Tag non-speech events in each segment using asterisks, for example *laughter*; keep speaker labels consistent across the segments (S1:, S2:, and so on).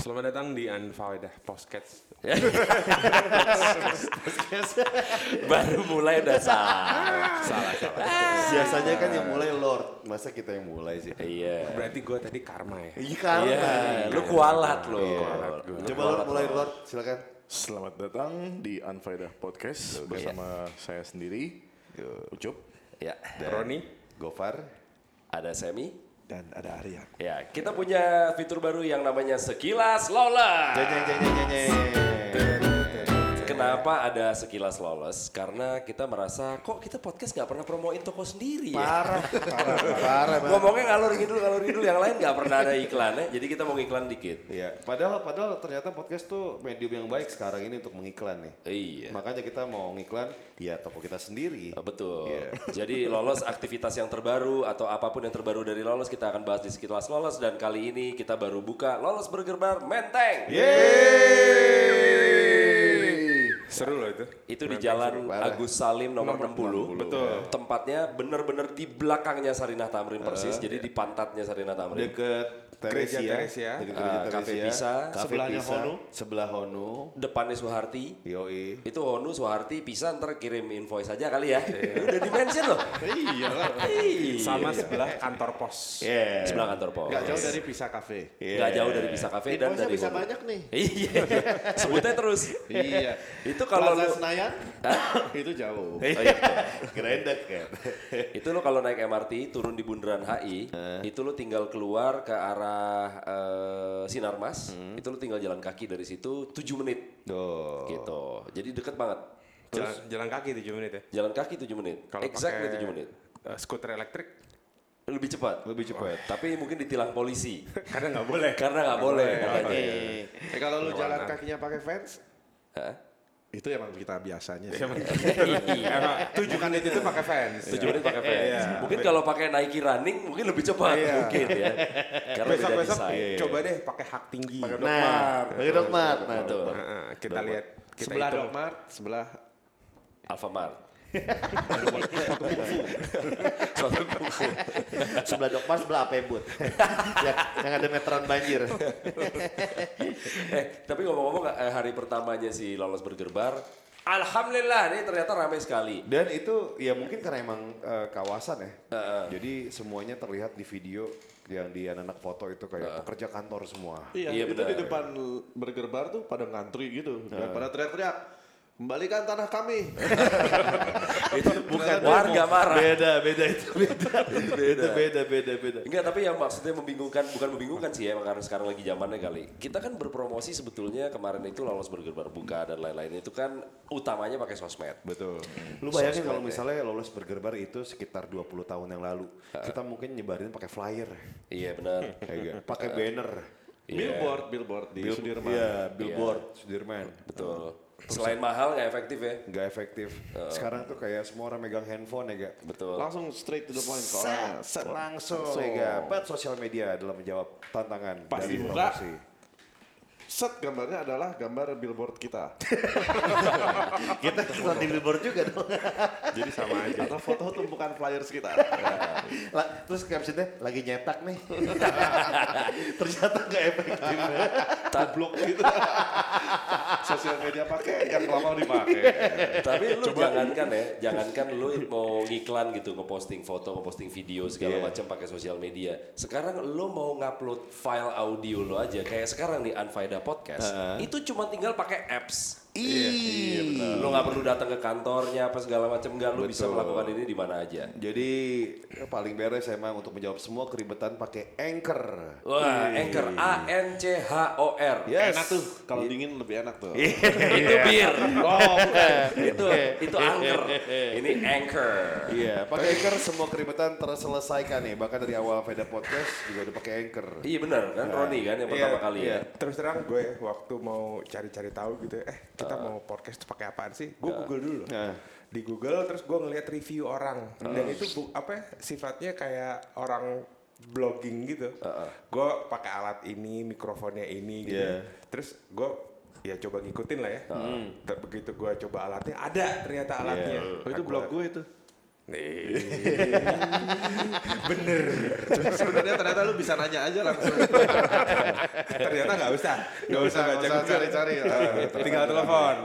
S1: Selamat datang di Anfaedah Podcast.
S2: Baru mulai udah salah.
S1: Salah, salah.
S3: Biasanya kan yang mulai Lord, masa kita yang mulai sih?
S2: Iya.
S1: Berarti gue tadi karma ya.
S3: Iya karena.
S2: Iya, lu kualat lu.
S3: Iya.
S2: Kualat gua.
S3: Coba Lord mulai Lord, silakan.
S4: Selamat datang di Unfaedah Podcast bersama saya sendiri, Ucup.
S2: Ya,
S1: Roni,
S3: Gofar.
S2: ada Semi.
S5: dan ada Arya.
S2: Ya, kita punya fitur baru yang namanya sekilas lolos.
S3: Jeng jeng jeng jeng jeng.
S2: Kenapa ada sekilas lolos? Karena kita merasa kok kita podcast nggak pernah promoin toko sendiri ya.
S3: Parah, parah, parah. Bang.
S2: Ngomongnya ngalur ngidul ngalur ngidul yang lain nggak pernah ada iklannya. Jadi kita mau iklan dikit.
S3: Iya, padahal padahal ternyata podcast tuh medium yang baik sekarang ini untuk mengiklan nih.
S2: Iya.
S3: Makanya kita mau ngiklan ya toko kita sendiri.
S2: Oh, Betul. *laughs* Jadi lolos aktivitas yang terbaru atau apapun yang terbaru dari lolos kita akan bahas di sekilas lolos dan kali ini kita baru buka lolos burger bar Menteng.
S3: Iya.
S1: seru loh itu.
S2: Itu di Jalan Agus Salim nomor ya. 60. Betul. Tempatnya benar-benar di belakangnya Sarinah Tamrin persis. jadi di pantatnya Sarinah Tamrin.
S3: Deket
S1: Gereja
S3: Teresia,
S1: Teresia.
S3: Deket
S2: Ah,
S3: Gereja
S2: Cafe
S3: Teresia.
S2: Bisa.
S3: Cafe
S5: Sebelahnya
S3: Bisa.
S5: Honu.
S3: Sebelah Honu.
S2: Depannya Soeharti.
S3: Yoi.
S2: Itu Honu Soeharti bisa ntar kirim invoice aja kali ya. *laughs* Udah di mention loh. Iya.
S1: Sama sebelah kantor pos.
S3: Yeah.
S2: Sebelah kantor pos.
S5: Gak jauh dari Pisa Cafe.
S2: Nggak jauh dari Bisa Cafe dan
S5: Invoice-nya
S2: dari
S5: bisa
S2: Honu.
S5: banyak nih.
S2: Iya. Sebutnya terus.
S5: *laughs* Iya.
S2: Itu kalau
S5: Plaza
S2: lu
S5: Senayan itu jauh.
S3: Iya.
S5: Oh, iya.
S3: Geredek kan.
S2: itu lo kalau naik MRT turun di Bundaran HI itu lo tinggal keluar ke arah eh, Sinarmas itu lo tinggal jalan kaki dari situ 7 menit
S3: Tuh.
S2: gitu jadi deket banget
S1: Jalan, jalan kaki 7 menit ya.
S2: jalan kaki 7 menit
S1: Kalau
S2: exactly
S1: pakai,
S2: 7 menit
S1: eh, skuter elektrik
S2: lebih cepat
S3: Lebih cepat.
S2: tapi mungkin ditilang polisi
S1: *laughs*
S2: *laughs*
S1: karena nggak *laughs* boleh.
S2: karena nggak boleh katanya
S3: ya?
S5: Eh, kalau lu jalan kakinya pakai fans,
S2: Hah?
S5: itu emang kita biasanya. sih.
S2: *laughs*
S1: Emang tujuh menit itu pakai fans.
S2: 7 menit pakai fans
S1: Iya.
S2: mungkin kalau pakai Nike running mungkin lebih cepat
S5: Iya.
S2: mungkin ya karena beda
S1: Besok-besok iya,
S2: desain
S1: coba deh pakai hak
S5: Iya.
S1: tinggi.
S3: Nah, bagi dokmat. Nah,
S2: Betul.
S3: dokmat.
S1: Heeh, eh, kita lihat. Kita
S5: sebelah
S1: hitung.
S5: Dokmart, sebelah
S2: Alfamart Suatu buku.
S3: sebelah dokmat, sebelah *laughs* apebut.
S5: Ya,
S3: yang, yang ada meteran banjir.
S2: Eh, tapi ngomong-ngomong eh, hari pertamanya si lolos bergerbar, alhamdulillah ini ternyata ramai sekali.
S3: Dan itu ya mungkin karena emang eh, kawasan ya.
S2: Eh,
S3: Jadi semuanya terlihat di video yang di anak-anak foto itu kayak pekerja kantor semua.
S5: Iya,
S2: Iya,
S5: itu
S2: benar.
S5: di depan Burger Bar tuh pada ngantri gitu.
S1: Ah.
S5: Dan pada teriak-teriak, "Kembalikan tanah
S1: *laughs*
S5: kami."
S2: Itu bukan warga marah.
S3: Beda, beda itu *laughs* beda. beda, beda, beda, beda.
S2: Enggak, tapi yang maksudnya membingungkan, bukan membingungkan sih ya, emang karena sekarang lagi zamannya kali. Kita kan berpromosi sebetulnya kemarin itu lolos bergerbar buka dan lain-lain itu kan utamanya pakai sosmed.
S3: Betul. Lu bayangin kalau misalnya lolos bergerbar itu sekitar 20 tahun yang lalu. Kita mungkin nyebarin pakai flyer.
S2: Iya benar.
S3: Ah. Kayak gitu. Pakai banner.
S1: Iya.
S5: Billboard, billboard di
S3: Bil-
S5: Sudirman.
S3: Iya, billboard Sudirman.
S2: Betul. Selain mahal nggak efektif ya.
S3: Nggak efektif. Sekarang tuh kayak semua orang megang handphone ya, Gak?
S2: Betul.
S5: Langsung straight to the point Nah, ke orangnya.
S3: Set, set, langsung, ya, Gak? But sosial media adalah menjawab tantangan
S5: Pas
S3: dari
S5: dibuka.
S3: promosi.
S5: Set gambarnya adalah gambar billboard kita.
S3: *laughs* Kita kita di billboard juga dong.
S1: *laughs* Jadi sama aja.
S5: Atau foto tumpukan flyers kita.
S3: La- Terus captionnya lagi nyetak nih. *laughs* Ternyata nggak efektif.
S5: Goblok gitu. Sosial media pakai yang lama dipakai.
S2: Tapi lu jangankan ya, jangankan lu mau ngiklan gitu, ngeposting foto, ngeposting video segala macam pakai sosial media. Sekarang lu mau ngupload file audio lu aja, kayak sekarang nih Unfaida Podcast, itu cuma tinggal pakai apps. Iya, lu nggak perlu datang ke kantornya apa segala macam, nggak lu bisa
S3: Betul.
S2: melakukan ini di mana aja.
S3: Jadi paling beres emang untuk menjawab semua keribetan pakai anchor.
S2: Wah, Hmm. Anchor A N C H O R.
S1: *laughs*
S3: Yes.
S5: Enak tuh, kalau
S1: Iya.
S5: dingin lebih enak tuh.
S2: Itu bir. Oh, bukan. itu itu Anchor. Ini Anchor.
S3: Iya, pakai anchor semua keribetan terselesaikan nih. Bahkan dari awal Veda Podcast juga udah pakai anchor.
S2: Iya benar kan Roni kan yang pertama
S1: Iya,
S2: kali
S1: iya.
S2: ya.
S1: Terus terang gue waktu mau cari-cari tahu gitu, eh kita
S2: Ah.
S1: mau podcast tuh pakai apaan sih? Gue Google dulu.
S2: Ya.
S3: Nah.
S1: Di Google terus gue ngeliat review orang
S2: Ah.
S1: dan itu bu- apa ya, sifatnya kayak orang blogging gitu.
S2: Ah,
S1: Gue pakai alat ini, mikrofonnya ini gitu.
S3: Iya.
S1: Terus gue ya coba ngikutin
S2: Ah.
S3: iya.
S2: Iya.
S1: lah ya. Ter- Begitu gue coba alatnya ada ternyata alatnya.
S5: Oh, itu blog gue itu.
S6: *laughs*
S1: Nih.
S6: Sebenarnya ternyata lu bisa nanya aja langsung.
S1: Ternyata nggak usah, nggak usah baca
S6: nggak usah
S1: Google.
S6: cari-cari. Ah,
S1: Eh, Tinggal telepon.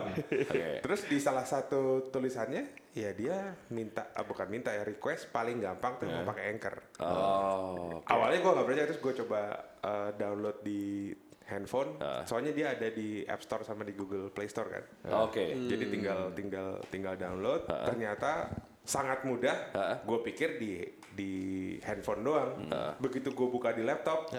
S1: Terus di salah satu tulisannya, ya dia minta, ah, bukan minta ya request paling gampang tuh
S6: Ya.
S1: mau pakai Anchor.
S2: Oh.
S1: Awalnya gue nggak percaya, terus gue coba eh, download di handphone. Soalnya dia ada di App Store sama di Google Play Store kan.
S2: Oke.
S1: Jadi tinggal tinggal tinggal download. Ternyata sangat mudah. Gue pikir di di handphone doang. Begitu gue buka di laptop,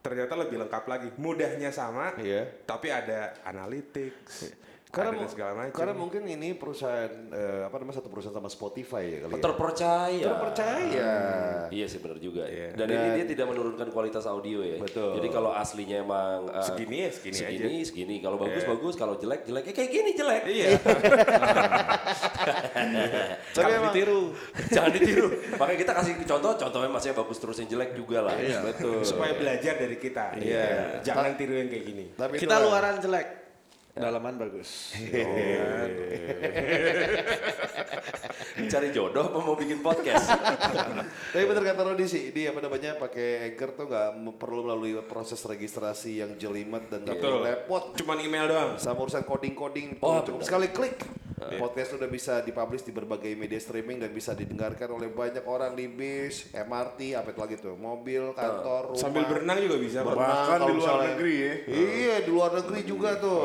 S1: ternyata lebih lengkap lagi. Mudahnya sama,
S3: Iya.
S1: tapi ada analytics,
S3: Karena,
S1: ada
S3: mu-
S1: segala macam.
S3: karena mungkin ini perusahaan eh, apa namanya satu perusahaan sama Spotify ya
S1: Oh,
S3: kali ya.
S2: Terpercaya.
S3: Terpercaya.
S2: Iya sih benar juga.
S1: Iya.
S2: Dan, ini dia tidak menurunkan kualitas audio ya.
S3: Betul.
S2: Jadi kalau aslinya emang eh,
S1: Segini ya, segini aja.
S2: segini, segini. Kalau bagus bagus, kalau jelek jelek. Eh, kayak gini jelek.
S1: iya.
S2: *laughs*
S6: Tapi emang ditiru.
S2: Jangan ditiru. Makanya kita kasih contoh, contohnya masih bagus terus yang jelek juga lah. Betul.
S1: Supaya belajar dari kita.
S3: Iya.
S1: Jangan tiru yang kayak gini.
S3: Tapi
S6: Kita
S3: itulah.
S6: luaran jelek.
S4: Ya.
S6: Dalaman bagus.
S1: Iya.
S6: Oh, iya.
S2: Cari jodoh apa mau bikin podcast?
S3: Tapi bener kata Rodi sih, dia apa namanya pakai anchor tuh nggak mem- perlu melalui proses registrasi yang jelimet dan nggak perlu repot
S1: Cuman email doang. Iya.
S3: sama urusan coding-coding
S2: Oh,
S3: cukup
S2: bener.
S3: sekali klik. Podcast udah bisa dipublish di berbagai media streaming dan bisa didengarkan oleh banyak orang di bis, MRT, apa itu lagi tuh, mobil, kantor, rumah.
S1: Sambil berenang juga bisa. Bang.
S3: Berenang,
S4: Bahkan
S3: kalau
S4: di luar
S3: misalnya-
S4: negeri ya. Oh,
S3: Iya, di luar negeri juga tuh.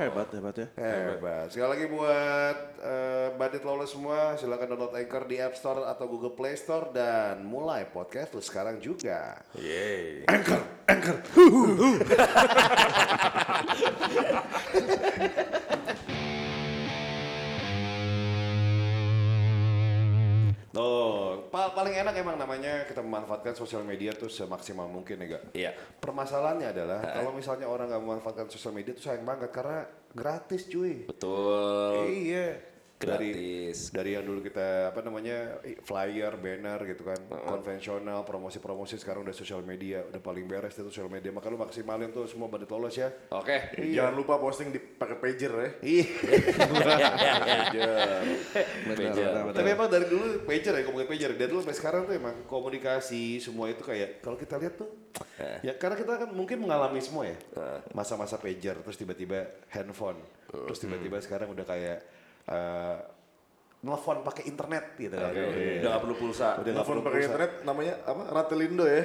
S4: Hebat hebat ya.
S3: Hebat. Eh, Sekali lagi buat eh, Bandit Lawless semua, silakan download Anchor di App Store atau Google Play Store dan mulai podcast lu sekarang juga.
S1: Yeay.
S3: Tuh, pa- paling enak emang namanya kita memanfaatkan sosial media tuh semaksimal mungkin ya, Gak?
S2: Iya.
S3: Permasalahannya adalah kalau misalnya orang nggak memanfaatkan sosial media tuh sayang banget karena gratis cuy.
S2: Betul.
S3: Iya. Dari,
S2: Gratis.
S3: dari yang dulu kita apa namanya i- flyer, banner gitu kan, konvensional, promosi-promosi sekarang udah sosial media, udah paling beres itu sosial media. Maka lu maksimalin tuh semua bandit lolos ya.
S2: Oke.
S4: Jangan lupa posting di pakai pager ya.
S3: Iya.
S2: Pager.
S3: Tapi emang dari dulu pager ya ngomongin pager dari dulu sampai sekarang tuh emang komunikasi semua itu kayak kalau kita lihat tuh ya karena kita kan mungkin mengalami semua ya masa-masa pager terus tiba-tiba handphone terus tiba-tiba sekarang udah kayak eh nelfon pakai internet gitu kan.
S2: Udah nggak perlu pulsa.
S3: Udah
S2: *laughs*
S3: nggak
S4: Telepon
S3: perlu
S4: pakai
S3: pulsa.
S4: internet namanya apa? Ratelindo
S3: *laughs*
S4: ya.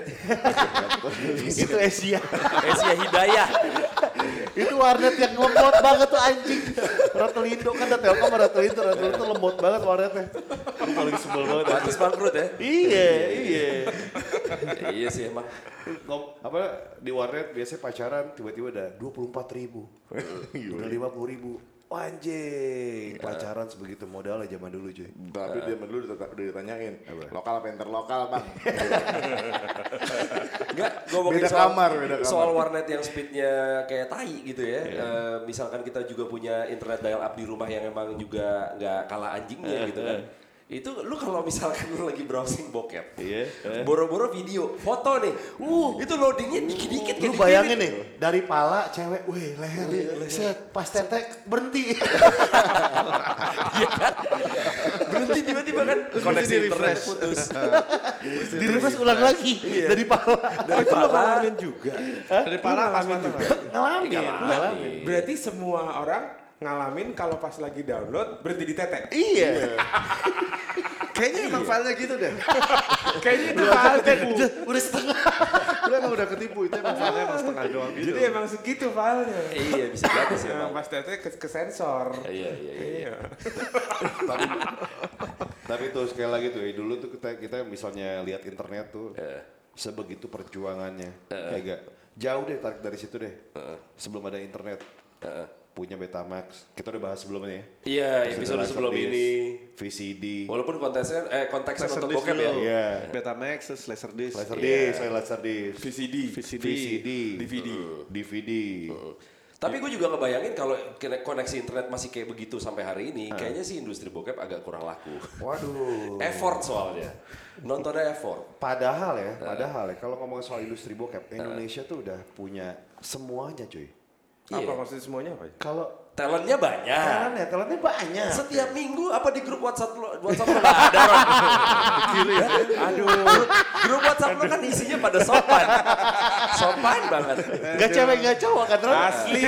S3: itu Asia *laughs*
S2: Asia Eh, Hidayah.
S3: itu warnet yang lembut banget tuh anjing Ratelindo kan ada Telkom ada Ratelindo Ratelindo tuh lembut banget warnetnya Gue paling sebel banget
S2: Bagus bangkrut ya.
S3: iya iya
S2: Iya sih emang.
S3: Ngom- apa di warnet biasanya pacaran tiba-tiba ada dua puluh empat *laughs* ribu udah lima puluh ribu Wah, anjing pacaran sebegitu modalnya zaman dulu cuy
S4: Tapi dia dulu udah udah ditanyain. Lokal apa interlokal, Bang?
S2: Enggak, ngomongin
S4: Beda
S2: soal,
S4: kamar, beda kamar.
S2: soal warnet yang speednya kayak tai gitu ya. Eh, misalkan kita juga punya internet dial up di rumah yang emang juga nggak kalah anjingnya gitu kan. Itu lu kalau misalkan lu lagi browsing bokep, eh. boro-boro video, foto nih, uh, itu loadingnya dikit-dikit kayak
S3: lu
S2: di
S3: bayangin
S2: klinik.
S3: nih dari pala cewek weh leher set pas tetek *laughs* berhenti
S2: berhenti tiba-tiba kan terus
S6: Koneksi
S2: jadi internet
S6: refresh.
S2: putus.
S3: di reverse ulang lagi dari pala
S2: Dari pala,
S1: juga.
S6: Dari pala
S1: ngalamin
S6: pas
S1: juga.
S3: ngalamin ngalamin
S6: Iya.
S1: Berarti semua orang ngalamin kalau pas lagi download berhenti di tetek. Iya.
S3: iya
S6: Kayaknya emang filenya gitu deh.
S1: *laughs*
S6: Iya,
S1: Kayaknya itu hal
S3: udah udah setengah
S6: Lu emang udah ketipu itu emang filenya emang setengah doang gitu.
S1: Jadi emang segitu filenya.
S2: iya bisa jadi sih
S1: Nah,
S2: emang.
S1: pas tetek ke, ke sensor.
S2: Iya, iya, iya.
S1: Iya.
S3: *laughs* Tapi tuh sekali lagi tuh, eh, dulu tuh kita kita misalnya lihat internet tuh
S4: Iya.
S3: sebegitu perjuangannya, ya gak? Jauh deh tarik dari situ deh.
S4: Iya.
S3: Sebelum ada internet, punya Betamax. Kita udah bahas sebelumnya. ya.
S2: Iya,
S3: Terus
S2: episode
S3: ada
S2: sebelum
S3: Laserdisc,
S2: ini.
S3: VCD,
S2: Walaupun konteksnya, eh konteksnya untuk
S6: Laserdisc
S2: bokep ya.
S6: dulu.
S3: Iya.
S6: Betamax, Iya. terus Laserdisc.
S3: Laserdisc, saya Laserdisc,
S1: VCD.
S6: VCD.
S3: VCD,
S1: DVD.
S3: DVD. Oh.
S2: Tapi gue juga ngebayangin kalau kene- koneksi internet masih kayak begitu sampai hari ini, kayaknya sih industri bokep agak kurang laku.
S3: Waduh.
S2: effort soalnya. Nontonnya effort.
S3: Padahal
S7: Eh.
S3: ya, padahal ya kalau ngomong soal industri bokep, Indonesia tuh udah punya semuanya cuy.
S1: Apa
S2: Iya.
S1: maksudnya semuanya apa?
S3: Kalau
S7: Eh.
S2: talentnya banyak.
S7: Talentnya, talentnya banyak.
S2: Setiap minggu apa di grup WhatsApp lo WhatsApp lo nggak ada orang. Ya? Aduh, grup WhatsApp lo kan isinya pada sopan, sopan banget.
S7: Gak cewek gak cowok kan Ron?
S1: Asli.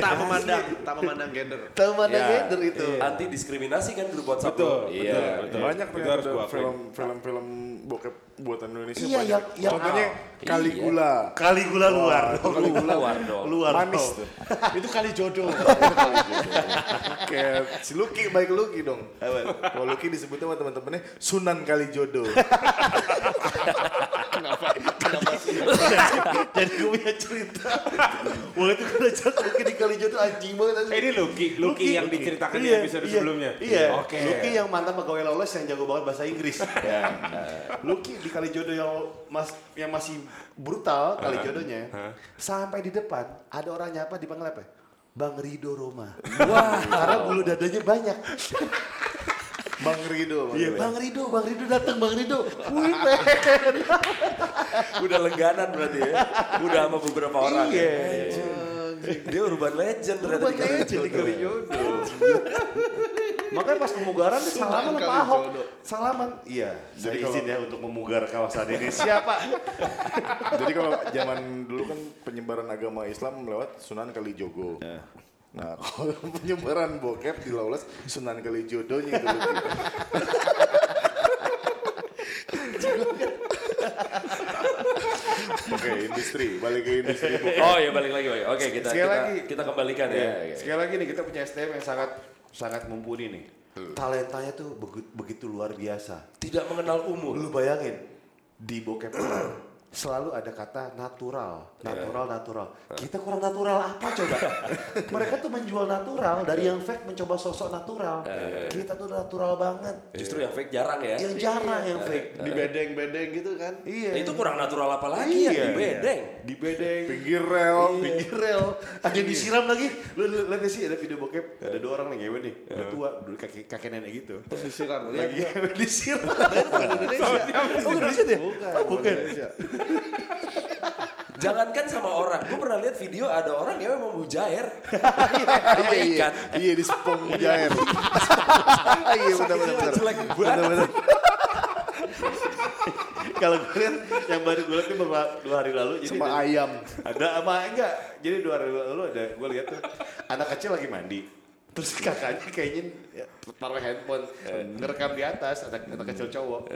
S8: tak memandang tak memandang gender.
S7: Teman
S2: Ya,
S7: gender itu.
S2: Anti diskriminasi kan grup WhatsApp
S1: Betul,
S2: lo. Iya.
S1: betul.
S4: iya, Banyak
S1: Itu harus
S4: ternyata
S1: gua
S4: ada
S1: akuin.
S4: film, film, film bokep buatan Indonesia
S7: Iya,
S4: banyak.
S7: yang- yang-
S4: Contohnya
S2: Iya.
S4: Caligula.
S3: Kali gula luar.
S4: kan
S2: Kalau keluar dong.
S3: Luar.
S4: Manis
S3: dong.
S4: *laughs* tuh.
S3: itu kali jodoh.
S4: Kayak si Lucky, baik Lucky dong.
S7: Eh,
S4: Kalau Lucky disebutnya sama teman-temannya Sunan Kalijodo.
S3: Jadi gue punya cerita. Waktu itu kan ajak Lucky di kali jodoh anjing banget.
S1: Eh, ini Lucky, Lucky, yang diceritakan di episode
S3: iya,
S1: sebelumnya.
S3: Iya.
S1: Oke.
S3: Lucky yang mantan pegawai lolos yang jago banget bahasa
S1: *laughs*
S3: Inggris. ya. Lucky di kali jodoh yang mas yang masih brutal kali jodohnya. Sampai di depan ada orang nyapa dipanggil apa? ya? Bang Rido Roma. Wah, *laughs* karena bulu dadanya
S1: *laughs*
S3: banyak.
S4: Bang Rido.
S3: Iya,
S4: manggilnya.
S3: Bang Rido, Bang Rido datang, Bang Rido. Wih, men.
S2: Udah lengganan berarti ya. Udah sama beberapa orang. ya. Dia urban legend ternyata.
S3: Iya. Urban legend di Kali
S2: jodoh.
S3: Makanya pas pemugaran dia salaman sama
S8: kali
S3: Ahok.
S8: jodoh.
S3: Salaman. Iya, saya izin ya untuk memugar
S4: *laughs*
S3: kawasan ini. Siapa?
S4: Jadi kalau zaman dulu kan penyebaran agama Islam lewat Sunan Kalijogo.
S3: Ya.
S4: Nah, kalau *laughs* penyebaran bokep di Lawless Sunan Kalijodonya itu Lucky.
S3: *laughs*
S4: Oke, industri, balik ke industri bokep.
S2: Oh ya balik lagi. balik. Oke kita
S7: Sekali
S2: kita,
S7: lagi.
S2: kita kembalikan ya.
S3: Iya,
S2: Oke.
S7: Sekali lagi nih kita punya SDM yang sangat sangat mumpuni nih.
S3: Talentanya tuh begu- begitu luar biasa.
S2: Tidak mengenal umur.
S3: Lu bayangin di bokep selalu ada kata natural, natural, natural. Kita kurang natural apa coba? Mereka tuh menjual natural dari yang fake mencoba sosok natural. Kita tuh natural banget.
S2: Justru yang fake jarang ya.
S3: Yang jarang yang fake.
S8: Dibedeng-bedeng gitu kan.
S3: Iya.
S2: Nah, Itu kurang natural apa lagi ya
S3: Iya.
S2: di bedeng.
S3: di bedeng.
S4: Pinggir rel,
S3: pinggir rel ada yang Iya. disiram lagi lu, lu lihat sih ada video bokep ada dua orang nih ngewe nih udah tua dulu kakek kakek nenek gitu
S8: Terus disiram. Lihat
S3: lagi
S8: dia.
S3: *laughs* ngewe disiram bukan Indonesia oh Indonesia deh
S8: Bukan.
S3: Oh, bukan
S8: Indonesia.
S2: Jangankan sama orang. Gue pernah lihat video ada orang yang mau
S3: *laughs*
S2: mujair.
S3: Eh,
S4: Iya,
S2: Sama
S4: iya,
S2: ikan.
S4: iya di sepong
S3: *laughs*
S4: jair. Iya benar-benar.
S2: Jelek banget.
S3: kalau gue lihat yang baru gue lihat itu beberapa dua hari lalu jadi
S4: Sama
S3: ada-
S4: ayam.
S3: ada apa enggak jadi dua hari lalu ada gue lihat tuh anak kecil lagi mandi terus kakaknya kayaknya ya, taruh handphone ngerekam di atas anak, anak kecil cowok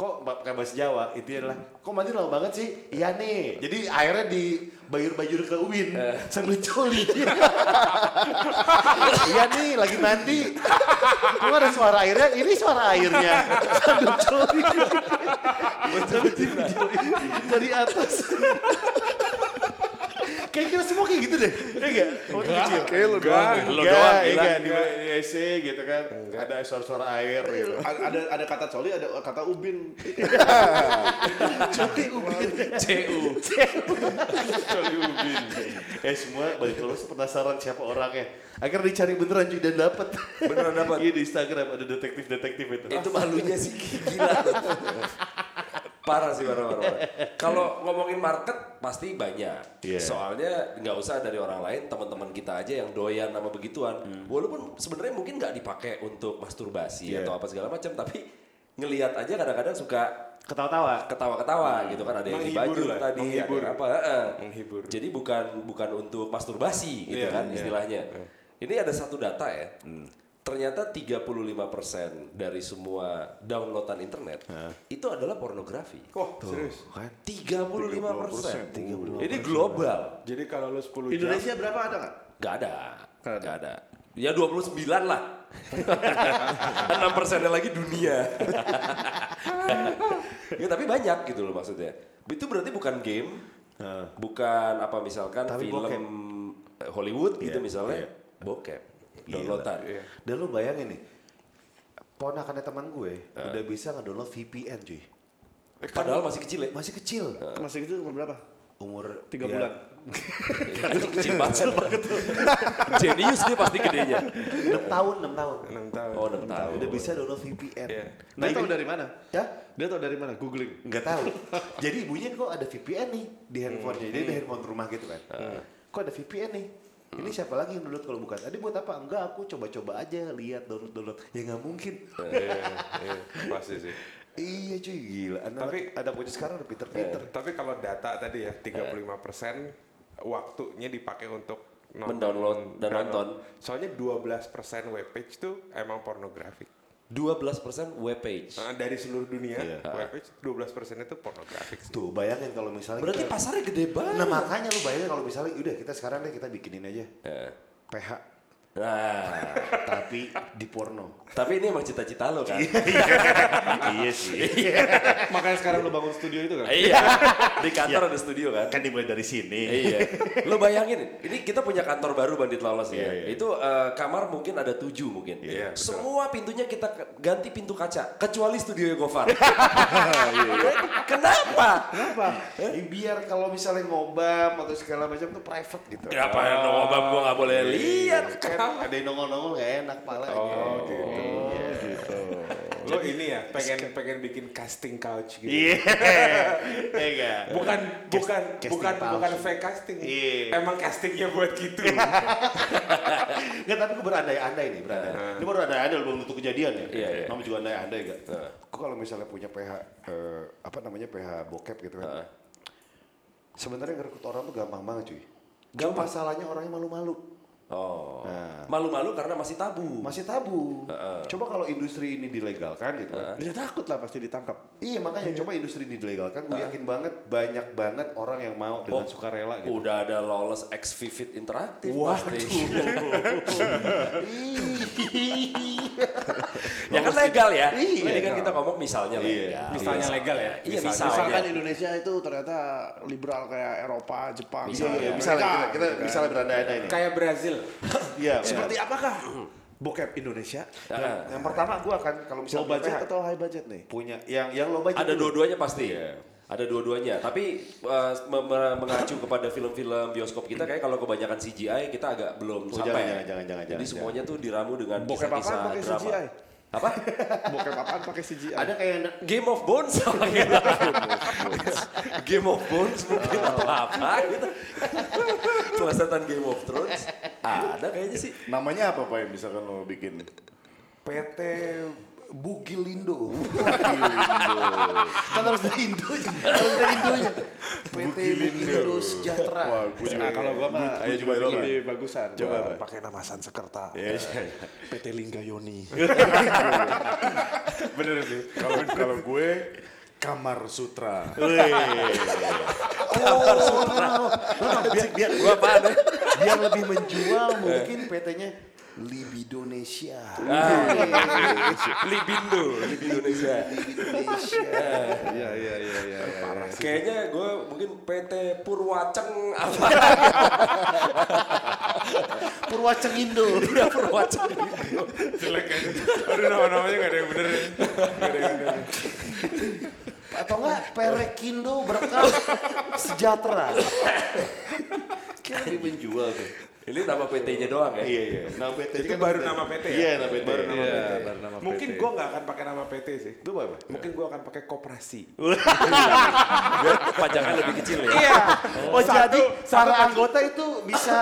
S3: kok ma- pakai bahasa Jawa itu adalah kok mandi lama banget sih iya nih jadi airnya di bayur-bayur ke Uin sambil coli *laughs* iya nih lagi mandi kok ada suara airnya ini suara airnya sambil coli sambil coli dari atas Kayak kita semua kayak gitu deh. Iya enggak? Waktu kecil. iya
S4: Kayak lu
S7: Enggak,
S4: doang.
S2: Lo
S7: enggak,
S2: doang bilang.
S7: enggak, di di WC gitu kan. Ada suara-suara air gitu.
S8: A- Ada ada kata coli, ada kata ubin.
S3: Jadi ubin.
S2: CU.
S3: Eh semua balik terus penasaran siapa orangnya. Akhirnya dicari beneran cuy dan dapat.
S2: Beneran dapat.
S3: Iya di Instagram ada detektif-detektif itu.
S4: Iya.
S2: Itu malunya sih gila. parah sih parah parah. parah. Kalau ngomongin market pasti banyak.
S3: Iya.
S2: Soalnya nggak usah dari orang lain, teman-teman kita aja yang doyan sama begituan. Walaupun sebenarnya mungkin nggak dipakai untuk masturbasi atau apa segala macam, tapi ngelihat aja kadang-kadang suka
S3: Ketawa-tawa.
S2: ketawa-ketawa gitu kan ada yang di
S1: Hmm. Menghibur
S2: baju
S1: lah,
S2: tadi ada
S1: menghibur.
S2: yang apa eh.
S1: Menghibur.
S2: jadi bukan bukan untuk masturbasi
S1: Iya,
S2: gitu
S1: iya.
S2: kan
S1: Hmm.
S2: istilahnya ini ada satu data ya ternyata 35% dari semua downloadan internet itu adalah pornografi
S1: Wah, serius.
S4: 35%.
S2: 35%, ini global
S1: Jadi kalau lu 10 jam,
S8: Indonesia berapa ada nggak?
S2: Gak ada. Gak ada. Ya 29 lah. *laughs* 6 persennya lagi dunia. *laughs* ya tapi banyak gitu loh maksudnya. Itu berarti bukan game. Bukan apa misalkan
S3: Tapi
S2: film
S3: bokep.
S2: eh, Hollywood gitu misalnya. Bokep. Downloadan.
S3: Dan lu bayangin nih. Ponakannya teman gue udah bisa ngedownload VPN cuy.
S2: Padahal masih kecil ya.
S3: Masih kecil.
S1: Eh.
S8: Masih itu umur berapa?
S3: Umur
S8: Tiga
S1: Iya.
S3: ya,
S8: bulan.
S2: *laughs* Itu kecil *laughs* banget. Jenius dia pasti gedenya.
S3: 6 tahun, 6 tahun.
S1: 6 tahun.
S2: Oh 6 tahun.
S3: Udah bisa download VPN.
S1: Iya.
S8: Dia tahu dari mana?
S3: Nah, Ya?
S8: Dia tahu dari mana? Googling.
S3: Nggak tahu. Jadi ibunya kok ada VPN nih di handphonenya. Jadi di handphone rumah gitu kan. Kok ada VPN nih? Ini siapa lagi yang download kalau bukan? Tadi buat apa? Enggak, aku coba-coba aja lihat download-download. Ya nggak mungkin.
S1: pasti sih.
S3: iya cuy, gila. Anak, Tapi
S1: Tapi- Eh.
S3: ada bocah sekarang udah pinter-pinter.
S1: Tapi kalau data tadi
S8: Eh.
S1: ya 35% waktunya dipakai untuk nonton-
S2: Mendownload dan nonton.
S1: Soalnya 12% webpage tuh emang pornografi.
S2: 12% webpage.
S1: Nah, dari seluruh dunia
S8: Iya.
S1: webpage 12% itu pornografi.
S3: Tuh, bayangin kalau misalnya
S2: Berarti
S3: kita-
S2: pasarnya gede banget.
S3: Nah makanya lu bayangin kalau misalnya udah kita sekarang deh kita bikinin aja PH
S1: *laughs*
S2: Nah,
S3: tapi di porno.
S2: tapi ini emang cita-cita lo kan?
S3: iya sih.
S8: Makanya sekarang lu bangun studio itu kan?
S2: Iya. Di kantor ada studio kan?
S3: Kan dimulai dari sini.
S2: iya. Lo bayangin, ini kita punya kantor baru Bandit Lolos ya. Itu eh, kamar mungkin ada tujuh mungkin.
S1: Iya, betul.
S2: Semua pintunya kita ke- ganti pintu kaca, kecuali studio Gofar. Kenapa?
S3: Kenapa? Ya, biar kalau misalnya ngobam atau segala macam tuh private gitu.
S1: Ya.
S2: Kenapa yang ngobam gue gak boleh
S1: Iya,
S2: lihat?
S3: Kan ada yang nongol-nongol gak enak pala. Iya,
S1: Oh gitu.
S3: *laughs*
S1: Lo ini ya pengen pengen bikin casting couch gitu.
S3: Iya. Eh enggak.
S1: Bukan bukan
S3: casting
S1: bukan
S3: palsu.
S1: bukan fake casting.
S3: Iya.
S1: Emang castingnya buat gitu.
S3: Nggak, tapi gue berandai-andai nih, berandai. Ini baru andai-andai belum tentu kejadian ya.
S2: Iya, iya.
S3: Nama juga andai-andai gak? Gue kalau misalnya punya PH, eh, apa namanya, PH bokep gitu kan. Sebenarnya ngerekut orang tuh gampang banget cuy. Gampang. Masalahnya orangnya malu-malu.
S2: Oh. Malu-malu karena masih tabu.
S3: Masih tabu. Coba kalau industri ini dilegalkan gitu kan.
S8: Dia takut lah pasti ditangkap.
S3: Iya makanya coba industri ini dilegalkan. Gue yakin banget banyak banget orang yang mau dengan
S2: Oh.
S3: sukarela gitu.
S2: Udah ada Lawless X Vivid Interaktif pasti. Iya. *laughs* ya kan legal ya.
S3: Iya.
S2: Ini kan kita ngomong misalnya legal.
S1: Misalnya legal ya?
S2: Iya,
S1: Misalnya.
S2: misalnya.
S8: Misalkan Indonesia itu ternyata liberal kayak Eropa, Jepang.
S2: Misalnya.
S8: Iya,
S3: Misalnya kita,
S8: mereka.
S3: kita misalnya berandai-andai nih.
S1: Kayak Brazil.
S3: Iya.
S8: Seperti apakah bokep Indonesia?
S2: Ah,
S3: Yang pertama gue akan kalau misalnya
S8: Low
S3: punya
S8: budget
S3: PH,
S8: atau high budget nih?
S3: punya yang yang lo budget
S2: Ada
S3: dulu.
S2: dua-duanya pasti. Ada dua-duanya, tapi eh, me- me- mengacu kepada film-film bioskop kita kayak kalau kebanyakan CGI kita agak belum
S3: Oh, jangan,
S2: sampai.
S3: jangan, jangan, jangan,
S2: Jadi
S3: jangan.
S2: semuanya tuh diramu dengan
S8: Bokep
S2: kisah-kisah
S8: apaan pakai
S2: drama.
S8: CGI?
S2: Apa?
S8: *laughs* Bokep apaan pakai CGI?
S3: Ada kayak yang
S2: Game of Bones apa gitu? *laughs* Game of Bones mungkin
S3: Oh.
S2: atau apa gitu. *laughs* Pelesetan Game of Thrones. Ada kayaknya sih. *laughs*
S4: Namanya apa Pak yang misalkan lo bikin?
S3: PT Bugilindo. kan harus dari Indo, harus dari Indonya. PT Bugilindo Sejahtera.
S4: Wah, gue juga.
S8: Nah, kalau gua mah
S4: ayo coba lo.
S8: lebih bagusan. Coba
S4: Pak.
S8: pakai nama Sansekerta.
S1: Iya,
S8: PT Lingga Yoni.
S4: Bener sih. Kalau kalau gue Kamar Sutra.
S3: biar, biar,
S2: Gua apaan ya?
S3: biar lebih menjual mungkin PT-nya Libidonesia. Ah,
S2: Libindo, Libindo Indonesia.
S3: Libidonesia.
S8: Iya, iya, iya, iya.
S2: Kayaknya gue mungkin PT Purwaceng apa
S3: Purwacengindo.
S2: udah Purwaceng.
S1: Jelek kan. Aduh nama-namanya gak ada yang bener. ya. Nggak ada yang bener.
S3: Atau enggak Perekindo berkah sejahtera. Kayak lebih menjual tuh.
S2: Ini nama PT-nya doang ya.
S3: Iya iya. Nah PT
S1: Itu baru nama PT ya?
S3: Iya nama PT.
S1: Baru nama
S8: Iya,
S1: PT.
S8: baru nama
S1: Mungkin
S8: PT.
S1: gue gak akan pakai nama PT sih.
S3: Itu apa?
S1: Mungkin gue akan pakai koperasi.
S2: Biar pajangan lebih kecil ya.
S8: Iya.
S1: *laughs*
S3: Oh jadi para anggota itu bisa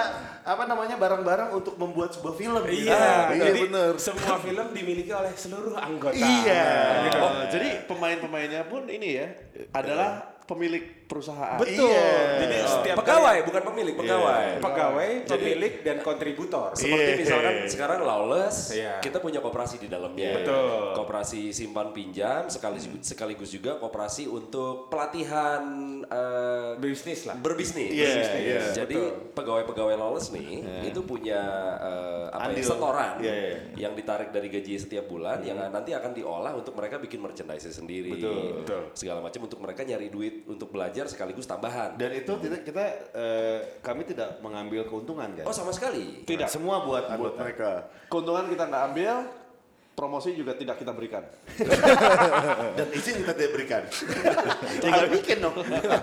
S3: apa namanya barang-barang untuk membuat sebuah film. gitu.
S1: Iya,
S4: iya,
S1: jadi
S4: bener.
S1: semua film dimiliki oleh seluruh anggota. Gitu.
S3: Iya.
S8: Oh, jadi pemain-pemainnya pun ini ya adalah pemilik perusahaan.
S3: Betul.
S1: Iya. Jadi setiap
S2: Oh. Pegawai bukan pemilik,
S3: Iya,
S2: pegawai.
S1: kali pegawai, pemilik dan kontributor.
S2: Seperti
S3: Iya.
S2: misalkan sekarang lawless,
S1: Iya.
S2: kita punya koperasi di
S3: Iya.
S2: dalamnya.
S1: Betul.
S2: Koperasi simpan pinjam sekaligus
S3: Hmm.
S2: sekaligus juga koperasi untuk pelatihan eh,
S1: Bisnis lah.
S2: berbisnis.
S3: Iya,
S2: Berbisnis.
S3: iya,
S2: Jadi pegawai-pegawai lawless nih itu punya eh, apa ya,
S3: Andil.
S2: setoran
S3: Iya, iya.
S2: yang ditarik dari gaji setiap bulan yang nanti akan diolah untuk mereka bikin merchandise sendiri.
S1: betul.
S2: Segala macam untuk mereka nyari duit untuk belajar sekaligus tambahan.
S3: Dan itu tidak kita eh, kami tidak mengambil keuntungan kan?
S2: Oh sama sekali.
S3: Semua buat anggota.
S4: Buat mereka.
S8: Keuntungan kita nggak ambil, promosi juga tidak kita
S3: *laughs*
S8: berikan.
S4: Dan izin kita tidak berikan.
S3: Tinggal bikin dong.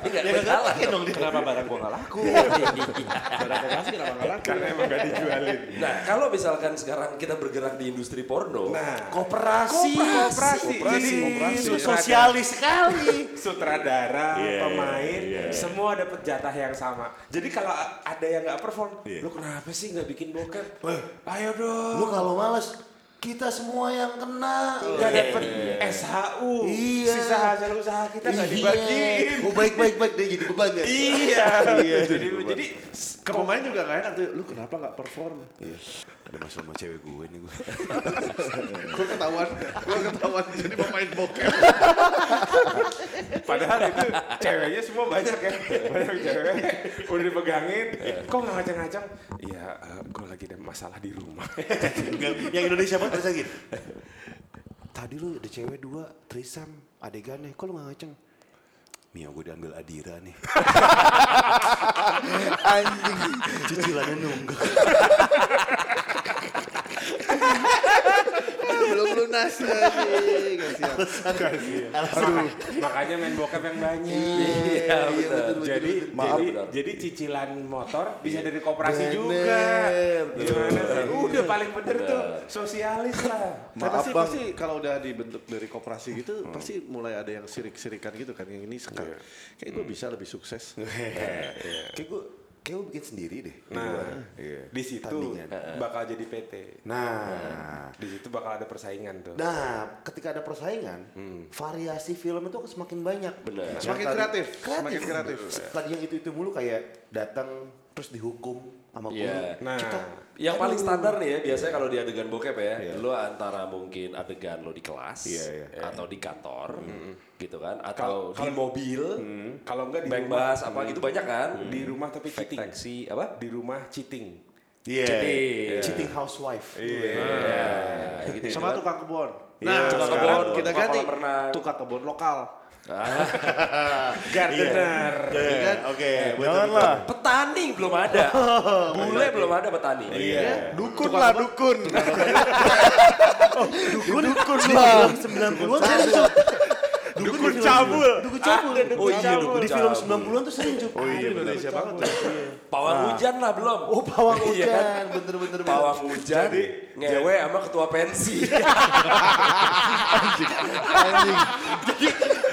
S3: Tinggal
S2: bersalah
S3: bikin Ya, dong.
S8: Kenapa barang gua nggak laku? barang gua kasih kenapa nggak laku?
S1: Karena emang gak dijualin.
S2: Nah, kalau misalkan sekarang kita bergerak di industri porno,
S1: Nah.
S2: koperasi,
S1: Koperasi. Jadi sutradara,
S3: Sosialis sekali.
S1: sutradara, pemain, semua dapat jatah yang sama. Jadi kalau ada yang nggak perform, lu kenapa sih nggak bikin bokep? Ayo dong.
S3: Lu kalau malas, kita semua yang kena.
S1: Gak dapet SHU,
S3: Iya.
S1: sisa hasil usaha kita nggak dibagiin.
S3: Mau baik-baik baik dia jadi beban ya.
S1: Iya. jadi, jadi
S8: Ke pemain juga nggak enak tuh. Lu kenapa nggak perform?
S4: Ada masalah sama cewek gue nih gue.
S8: Gue ketahuan, gue ketahuan jadi pemain bokep.
S1: padahal itu ceweknya semua banyak ya. Banyak cewek. Udah dipegangin. Kok nggak ngacang-ngacang? Iya, eh, gue lagi ada masalah di rumah.
S3: Yang Indonesia banget terasa gitu.
S4: Tadi lu ada cewek dua, trisam, adegannya. Kok lu gak ngaceng? Mio gue diambil Adira nih.
S3: Anjing. Cicilannya nunggak.
S7: Belum lunas lagi.
S3: Iya,
S7: Kasihan.
S1: Aduh, makanya main bokep yang banyak.
S2: Iya, benar.
S1: jadi
S2: Maaf,
S1: jadi,
S2: benar.
S1: jadi cicilan motor bisa dari koperasi juga. Gimana sih? Udah paling bener tuh sosialis lah.
S8: Karena
S4: Maaf,
S8: sih
S4: Bang.
S8: pasti kalau udah dibentuk dari koperasi gitu, pasti mulai ada yang sirik-sirikan gitu kan. Yang ini sekarang, kayak gue bisa lebih sukses.
S4: Kayak gue, kayak gue bikin sendiri deh.
S3: Gitu
S1: Nah, di situ
S4: Tandingan.
S1: bakal jadi PT.
S4: Nah,
S1: Di situ bakal ada persaingan tuh.
S3: Nah, ketika ada persaingan, variasi film itu akan semakin banyak.
S2: Benar.
S3: Yang
S8: Semakin
S3: tadi-
S8: kreatif, semakin kreatif.
S3: Tadi yang itu-itu mulu kayak datang terus dihukum sama guru.
S2: Iya.
S1: Nah,
S2: Yang paling standar nih ya, biasanya kalau di adegan bokep ya, lo antara mungkin adegan lo di kelas, eh, atau di kantor, gitu kan, atau di mobil,
S1: kalau enggak di
S2: bank
S1: rumah,
S2: bus, apa gitu banyak kan,
S1: di rumah tapi
S2: Naik
S1: cheating.
S2: taksi, apa?
S1: Di rumah cheating.
S4: iya.
S2: Cheating.
S3: Cheating housewife.
S2: Nah, gitu.
S8: Sama tukang Nah, kebon.
S2: Iya, tukang
S8: sekarang
S2: kebon,
S8: kita
S2: tukang
S3: kan
S8: ganti
S2: kolam renang.
S8: tukang kebon lokal.
S1: *laughs* Gardener.
S4: Iya, Oke,
S3: Jangan
S4: betul.
S3: lah.
S2: Petani belum ada, bule belum ada petani.
S4: Dukun lah, dukun.
S3: Dukun, dukun lah. 90-an sering Cuk.
S1: Dukun
S3: di film-
S1: cabul.
S3: Dukun cabul.
S2: dukun cabul.
S3: Di film 90-an tuh sering Cuk.
S4: Oh iya, bener.
S8: Indonesia banget.
S2: Pawang hujan lah belum.
S3: Oh, pawang
S2: Iya kan?
S3: hujan. Bener-bener.
S2: Pawang hujan, ngewe sama ketua pensi.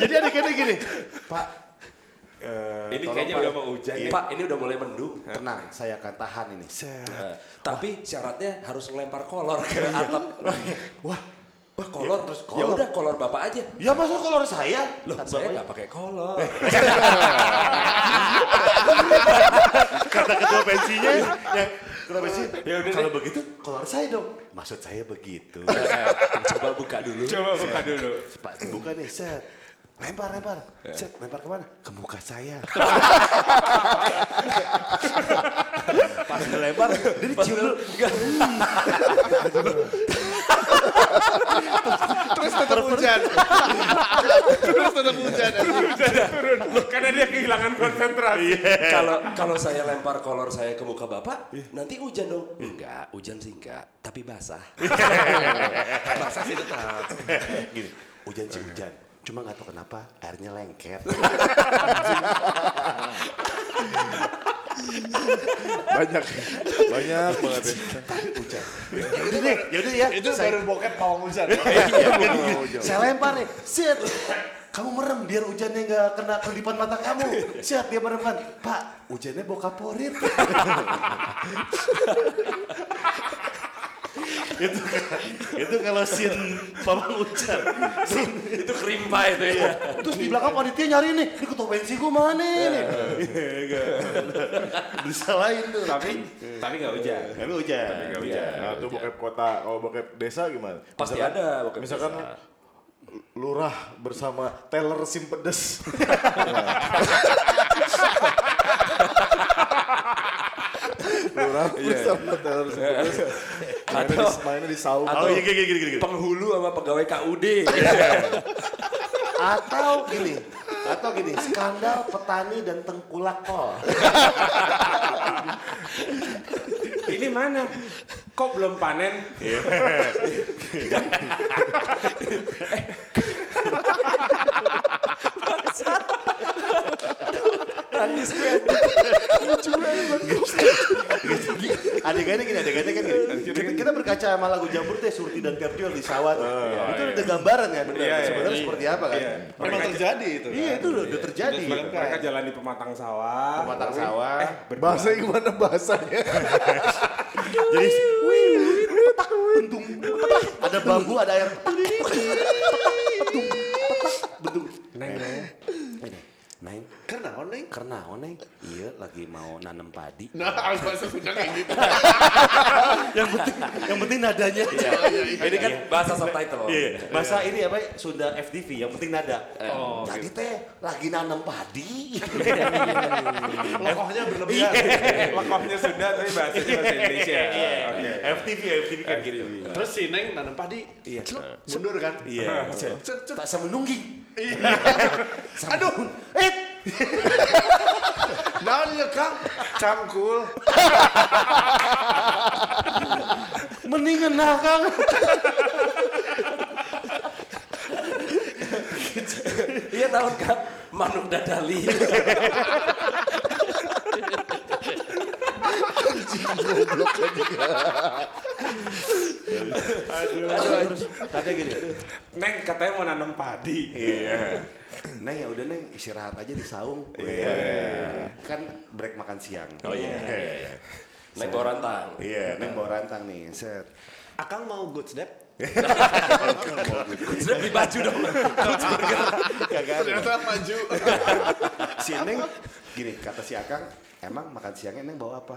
S3: Jadi ada kayak gini. Pak,
S2: ini kayaknya udah mau hujan. ya. Pak, ini udah mulai mendung.
S3: tenang. Saya akan tahan ini.
S2: Nah, tapi syaratnya harus ngelempar kolor ke atap.
S3: Wah.
S2: Wah kolor terus kolor.
S3: kolor.
S2: Iya. Ya udah ya? kolor bapak aja.
S3: Ya masa kolor saya?
S2: Loh,
S3: Kan
S2: saya
S3: bapaknya-
S2: nggak pakai *laughs* kolor. Eh,
S4: Kata ketua pensinya, yang ketua pensi,
S1: Ya
S4: kalau begitu,
S3: kolor saya dong.
S4: maksud saya begitu.
S2: eh, Coba buka dulu.
S1: Coba buka dulu. *laughs*
S3: Pak buka nih, set. Lempar, lempar. Set, lempar kemana? Ke muka saya. *laughs* Pas dilempar, dia dicium dulu.
S8: Terus tetap hujan. *laughs* Terus tetap hujan.
S1: Turun. Karena dia kehilangan konsentrasi.
S3: Eh.
S2: Kalau kalau saya lempar kolor saya ke muka bapak,
S3: Iya.
S2: nanti hujan dong. Enggak, hujan sih enggak, tapi
S3: *laughs*
S2: basah. basah sih tetap.
S3: Gini, hujan sih hujan. Cuma gak tahu kenapa airnya lengket.
S4: Banyak, banyak banget ya.
S3: *laughs* Yaudah deh, yaudah ya.
S7: Itu
S3: saya, Iya,
S7: baru bokep pawang
S3: *laughs*
S7: hujan.
S3: saya lempar nih, set. Kamu merem biar hujannya gak kena kelipan mata kamu. Set, dia merem kan. Pak, hujannya bau kaporit.
S4: itu
S3: kan,
S4: itu kalau sin
S3: *laughs*
S4: pawang hujan
S2: Itu kerimpa itu ya.
S3: Terus di belakang panitia nyari nih, ini ketua pensi gue mana nih? eh. *laughs*
S4: disalahin tuh.
S1: tapi tapi nggak hujan.
S4: Tapi hujan. Nah, itu bokep kota. Kalau bokep desa gimana?
S2: Pasti
S4: Misalkan-
S2: ada bokep
S4: Misalkan
S2: desa.
S4: lurah bersama teller simpedes. lurah bersama teller simpedes. Mainnya di, mainnya di saung.
S2: Atau gini, gini, gini. penghulu sama pegawai KUD.
S3: *laughs* Atau gini, atau gini, skandal petani dan tengkulak kol.
S1: Ini mana? Kok belum panen?
S2: Iya.
S3: adegannya gini adegannya kan gini. kita, kita berkaca sama lagu Jambur teh Surti dan Tertiol di sawah tuh. itu udah gambaran kan benar
S1: Iya, iya,
S3: sebenarnya
S1: iya.
S3: seperti apa kan
S1: Iya.
S8: Memang terjadi itu.
S3: iya itu udah, udah terjadi
S1: Mereka jalan di pematang sawah.
S3: pematang
S1: *laughs*
S3: sawah
S4: Bahasa gimana bahasanya?
S3: ada bambu ada air
S1: Neng, neng.
S2: Neng,
S8: Karena online
S2: karena oneng, iya lagi mau nanam padi.
S4: Nah, harus bahasa Sunda kayak gitu.
S3: yang penting yang penting nadanya
S2: Ini kan bahasa subtitle.
S3: Iya. bahasa ini apa Sunda FTV yang penting nada
S2: Eh,
S8: Oh,
S3: tadi
S2: gitu.
S3: teh lagi nanam padi
S8: lokohnya berlebihan.
S1: Lekofnya sudah tapi bahasanya bahasa Indonesia. Oke.
S3: FTV FTV kan gitu
S8: Terus si Neng nanam padi. Iya.
S3: mundur kan
S1: Iya.
S3: tak sama nungging aduh eh
S7: Nah, ya Kang, cangkul.
S3: mendingan nah kang
S2: Iya tahun kan Manuk Dadali.
S3: katanya gini
S1: Neng katanya mau nanam padi. Iya.
S3: Neng ya udah Neng istirahat aja di saung. Kan break makan siang.
S2: Iya. Oh iya. Neng Gorantang.
S3: Iya, Neng bawa rantang nih. Set.
S8: Akang mau good step.
S2: Sudah beli baju dong.
S4: Ternyata maju.
S3: *laughs* Si Neng gini kata si Akang, emang makan siangnya Neng bawa apa?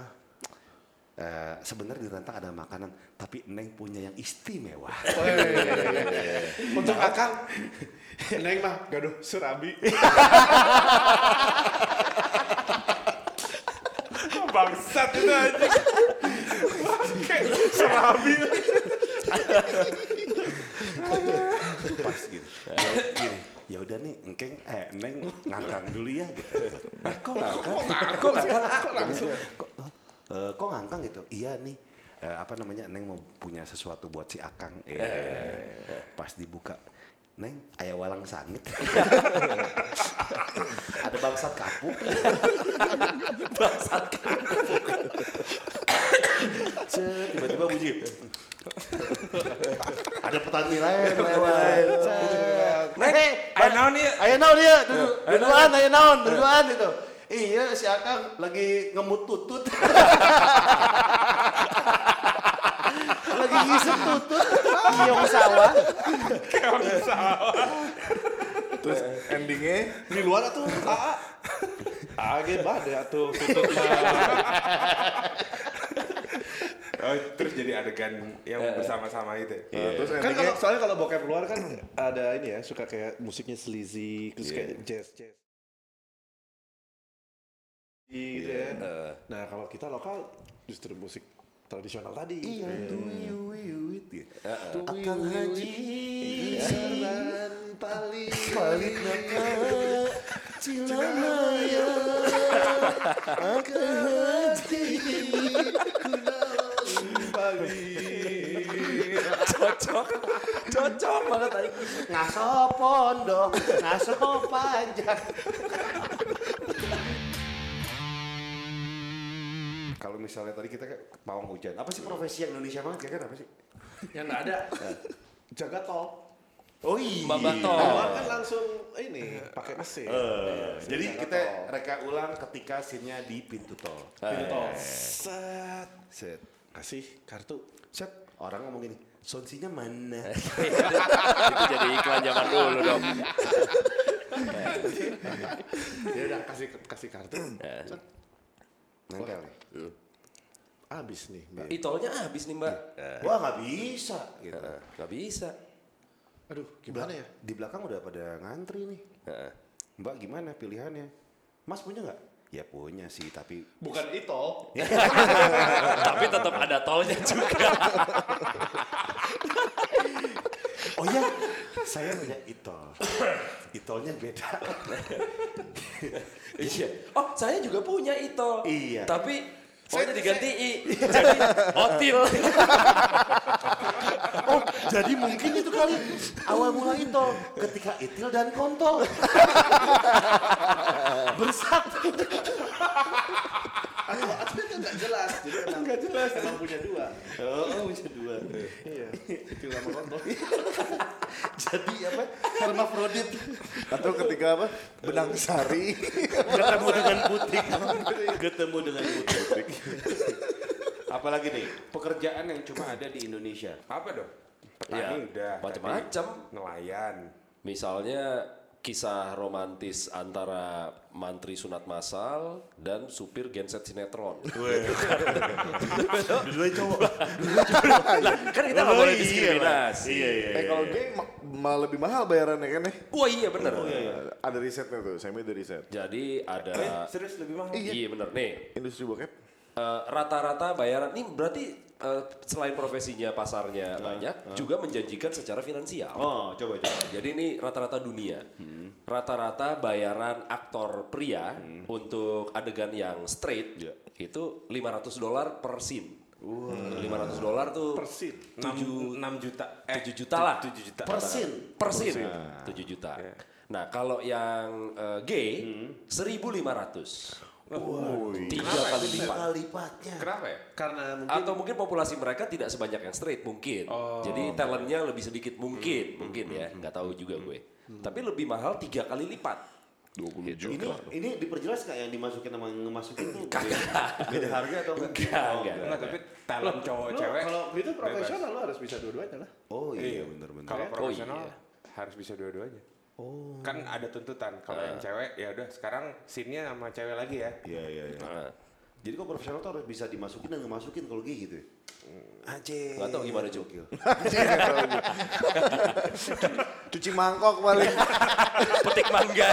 S3: Eh, Sebenarnya di rantang ada makanan, tapi Neng punya yang istimewa.
S8: Untuk Akang. *laughs* Neng mah gaduh serabi.
S1: *laughs* Bangsat itu aja.
S3: Pas gitu. Ya, gini, ya udah nih, engkeng, eh Neng ngangkang dulu ya gitu. Eh, kok ngangkang? Kok ngangkang? Kok langsung? Kok, eh, kok ngangkang gitu? Iya nih. Eh, apa namanya Neng mau punya sesuatu buat si Akang Eh, pas dibuka Neng ayah walang sangit *laughs* ada bangsat *laughs* kapuk
S2: Bangsat.
S3: Cet, tiba-tiba *laughs* bunyi ada petani lain lewat Cet.
S2: Neng, ayo naon ya.
S3: Ayo naon iya, duduk, duduan, ayo naon, duduan itu. Iya, si Akang lagi ngemut tutut. lagi ngisep tutut, kiong sawah.
S4: Terus endingnya
S8: Di luar tuh AA. Age bade atuh tutup
S1: Oh, terus jadi adegan yang
S4: Eh.
S1: bersama-sama gitu ya? itu.
S4: Nah, terus
S8: Kan
S4: endingnya
S8: kalau soalnya kalau bokep luar kan ada ini ya suka kayak musiknya sleazy
S4: Iya.
S8: terus kayak jazz jazz. Gitu ya.
S4: Iya. Eh.
S8: Nah kalau kita lokal justru musik tradisional tadi. Iya.
S3: Akang haji, serban paling paling nama Cilamaya. Akang haji, kunaon paling.
S2: Cocok. Cocok banget aja.
S3: ngaso pondok, ngaso Nah, panjang. Kalau misalnya tadi kita ke pawang hujan, apa sih profesi yang Indonesia banget ya kan apa sih? Nah.
S8: Yang nggak ada. Jaga tol.
S3: Oh iya.
S2: Babatol.
S8: Kalau luar kan langsung ini pakai mesin.
S3: Jadi kita reka ulang ketika scene-nya di pintu tol.
S8: Pintu tol. Set.
S3: Eh. Set.
S8: Kasih kartu.
S3: Set. Eh. Orang ngomong gini, sonsinya mana?
S2: Itu jadi iklan zaman dulu dong.
S8: Ya udah kasih kasih kartu. Set.
S3: Nempel nih.
S8: Abis nih. Mbak.
S2: Itolnya habis nih mbak.
S3: Wah nggak bisa. Gitu.
S2: Gak bisa.
S8: Aduh gimana ya?
S3: Di belakang udah pada ngantri nih. Mbak gimana pilihannya? Mas punya nggak? Ya punya sih,
S8: *laughs*
S3: tapi
S8: Bukan itol.
S2: Tapi tetap ada tolnya juga.
S3: Oh iya, saya punya itol. Itolnya beda.
S2: Iya. Oh saya juga punya itol.
S3: Iya.
S2: Tapi Saya diganti I. Jadi Otil. *laughs*
S3: Oh, jadi mungkin itu kali awal mula itu ketika Itil dan Kontol
S8: *laughs*
S3: bersatu.
S8: Aku aku itu nggak jelas, jadi emang nggak jelas. Emang punya dua.
S3: Oh, bisa dua.
S8: Iya, itu lama *laughs* kontol.
S3: Jadi apa? Hermafrodit
S4: Atau ketika apa? Benang sari.
S3: *laughs* ketemu dengan putih. Ketemu dengan putih. Apalagi
S1: Eh,
S3: nih, pekerjaan yang cuma ada di Indonesia.
S1: Apa dong? Petani
S2: Iya,
S1: udah.
S2: macam-macam.
S1: tadi. Nelayan.
S2: Misalnya kisah romantis antara mantri sunat masal dan supir genset sinetron.
S4: Dua cowok.
S2: Lah, kan kita nggak boleh diskriminasi.
S3: Iya, iya.
S4: Eh kalau dia ma- ma- lebih mahal bayarannya kan nih.
S2: Wah iya bener.
S4: Ada risetnya tuh, saya ada riset.
S2: Jadi ada,
S1: Serius lebih mahal.
S2: iya bener nih.
S4: Industri bokep.
S2: Eh, rata-rata bayaran ini berarti eh, selain profesinya pasarnya banyak juga menjanjikan secara finansial.
S3: Oh, coba coba.
S2: Jadi ini rata-rata dunia. Rata-rata bayaran aktor pria untuk adegan yang straight itu 500 dolar per scene. 500 dolar tuh
S8: Persin.
S1: 6, 6 juta. Eh,
S2: 7 juta lah.
S1: 7 juta.
S3: Persin.
S2: Persin. 7 juta. Nah, kalau yang eh, gay 1500. Tiga kali lipat.
S3: lipatnya.
S1: Kenapa ya?
S8: Karena mungkin
S2: Atau mungkin populasi mereka tidak sebanyak yang straight mungkin. Jadi talentnya lebih sedikit mungkin, mungkin ya, nggak tahu juga gue. Tapi lebih mahal tiga kali lipat.
S4: 20
S3: Ini
S4: juta.
S3: ini diperjelas nggak yang dimasukin sama ngemasukin tuh?
S2: Kagak.
S3: Beda harga atau enggak?
S2: Enggak,
S3: Oh,
S2: enggak.
S1: Enggak, tapi talent cowok
S8: Lu
S1: cewek.
S8: kalau itu profesional lo harus bisa dua-duanya lah.
S3: Oh iya benar benar.
S1: Kalau
S2: Oh,
S1: profesional
S2: iya.
S1: harus bisa dua-duanya. Oh. Kan ada tuntutan kalau yang cewek ya udah sekarang scene-nya sama cewek lagi ya.
S3: Iya iya iya.
S2: Nah,
S3: Jadi kok profesional tuh harus bisa dimasukin dan ngemasukin kalau gigi gitu ya? Aceh.
S2: Nggak tahu gimana, Cuk.
S4: Cuci mangkok paling.
S2: Petik mangga.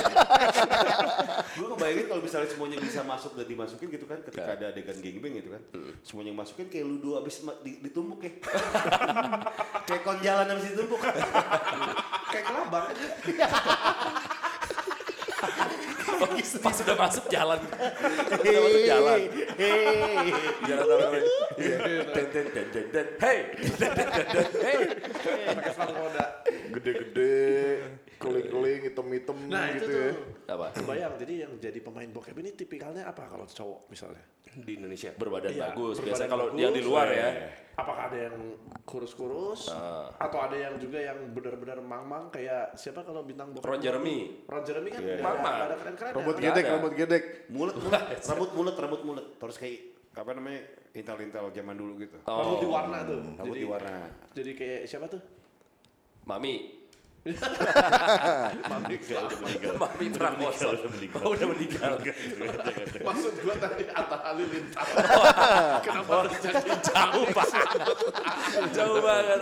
S3: Gue kebayangin kalau misalnya semuanya bisa masuk dan dimasukin gitu kan ketika
S2: Iya.
S3: ada adegan gangbang gitu kan.
S2: Hmm.
S3: Semuanya yang masukin kayak ludo abis ma- di- ditumbuk ya. *laughs* kayak konjalan abis ditumbuk.
S8: Kayak kelabang.
S2: Dia sudah masuk jalan. Sudah masuk
S4: Iya.
S2: jalan. Iya, Jalan apa? Iya. Den den den den den. Hey. Den, den, den, den. Hey.
S4: Gede-gede. Keling-keling, hitam-hitam
S8: Nah itu
S4: gitu
S8: tuh.
S4: ya.
S2: Apa?
S8: Kebayang jadi yang jadi pemain bokep ini tipikalnya apa kalau cowok misalnya?
S1: Di Indonesia.
S2: Berbadan
S8: Iya,
S2: bagus.
S8: berbadan
S2: Biasanya kalau
S8: bagus,
S2: yang di luar ya.
S8: Apakah ada yang kurus-kurus
S2: Ah.
S8: atau ada yang juga yang benar-benar mang-mang kayak siapa kalau bintang bokep?
S2: Ron Jeremy.
S8: Ron Jeremy kan
S2: Iya.
S8: nggak ada-
S2: Mang-mang.
S8: nggak ada keren-keren.
S4: Rambut
S8: ya.
S2: Nggak
S4: gedek,
S2: ada.
S4: rambut gedek.
S3: Mulut mulut, rambut mulut, rambut mulut. Terus kayak apa namanya? Intel-intel zaman dulu gitu.
S8: Rambut
S2: Oh,
S8: diwarna tuh.
S3: Rambut
S8: jadi,
S3: diwarna.
S8: Jadi kayak siapa tuh?
S2: Mami.
S3: Mami udah meninggal.
S2: Mami Prakoso.
S3: Udah meninggal.
S2: Oh, udah meninggal.
S8: Maksud gua tadi Atta
S2: *laughs*
S8: Halilintar. Kenapa
S2: Oh.
S8: terjadi?
S2: Jauh banget. Jauh banget.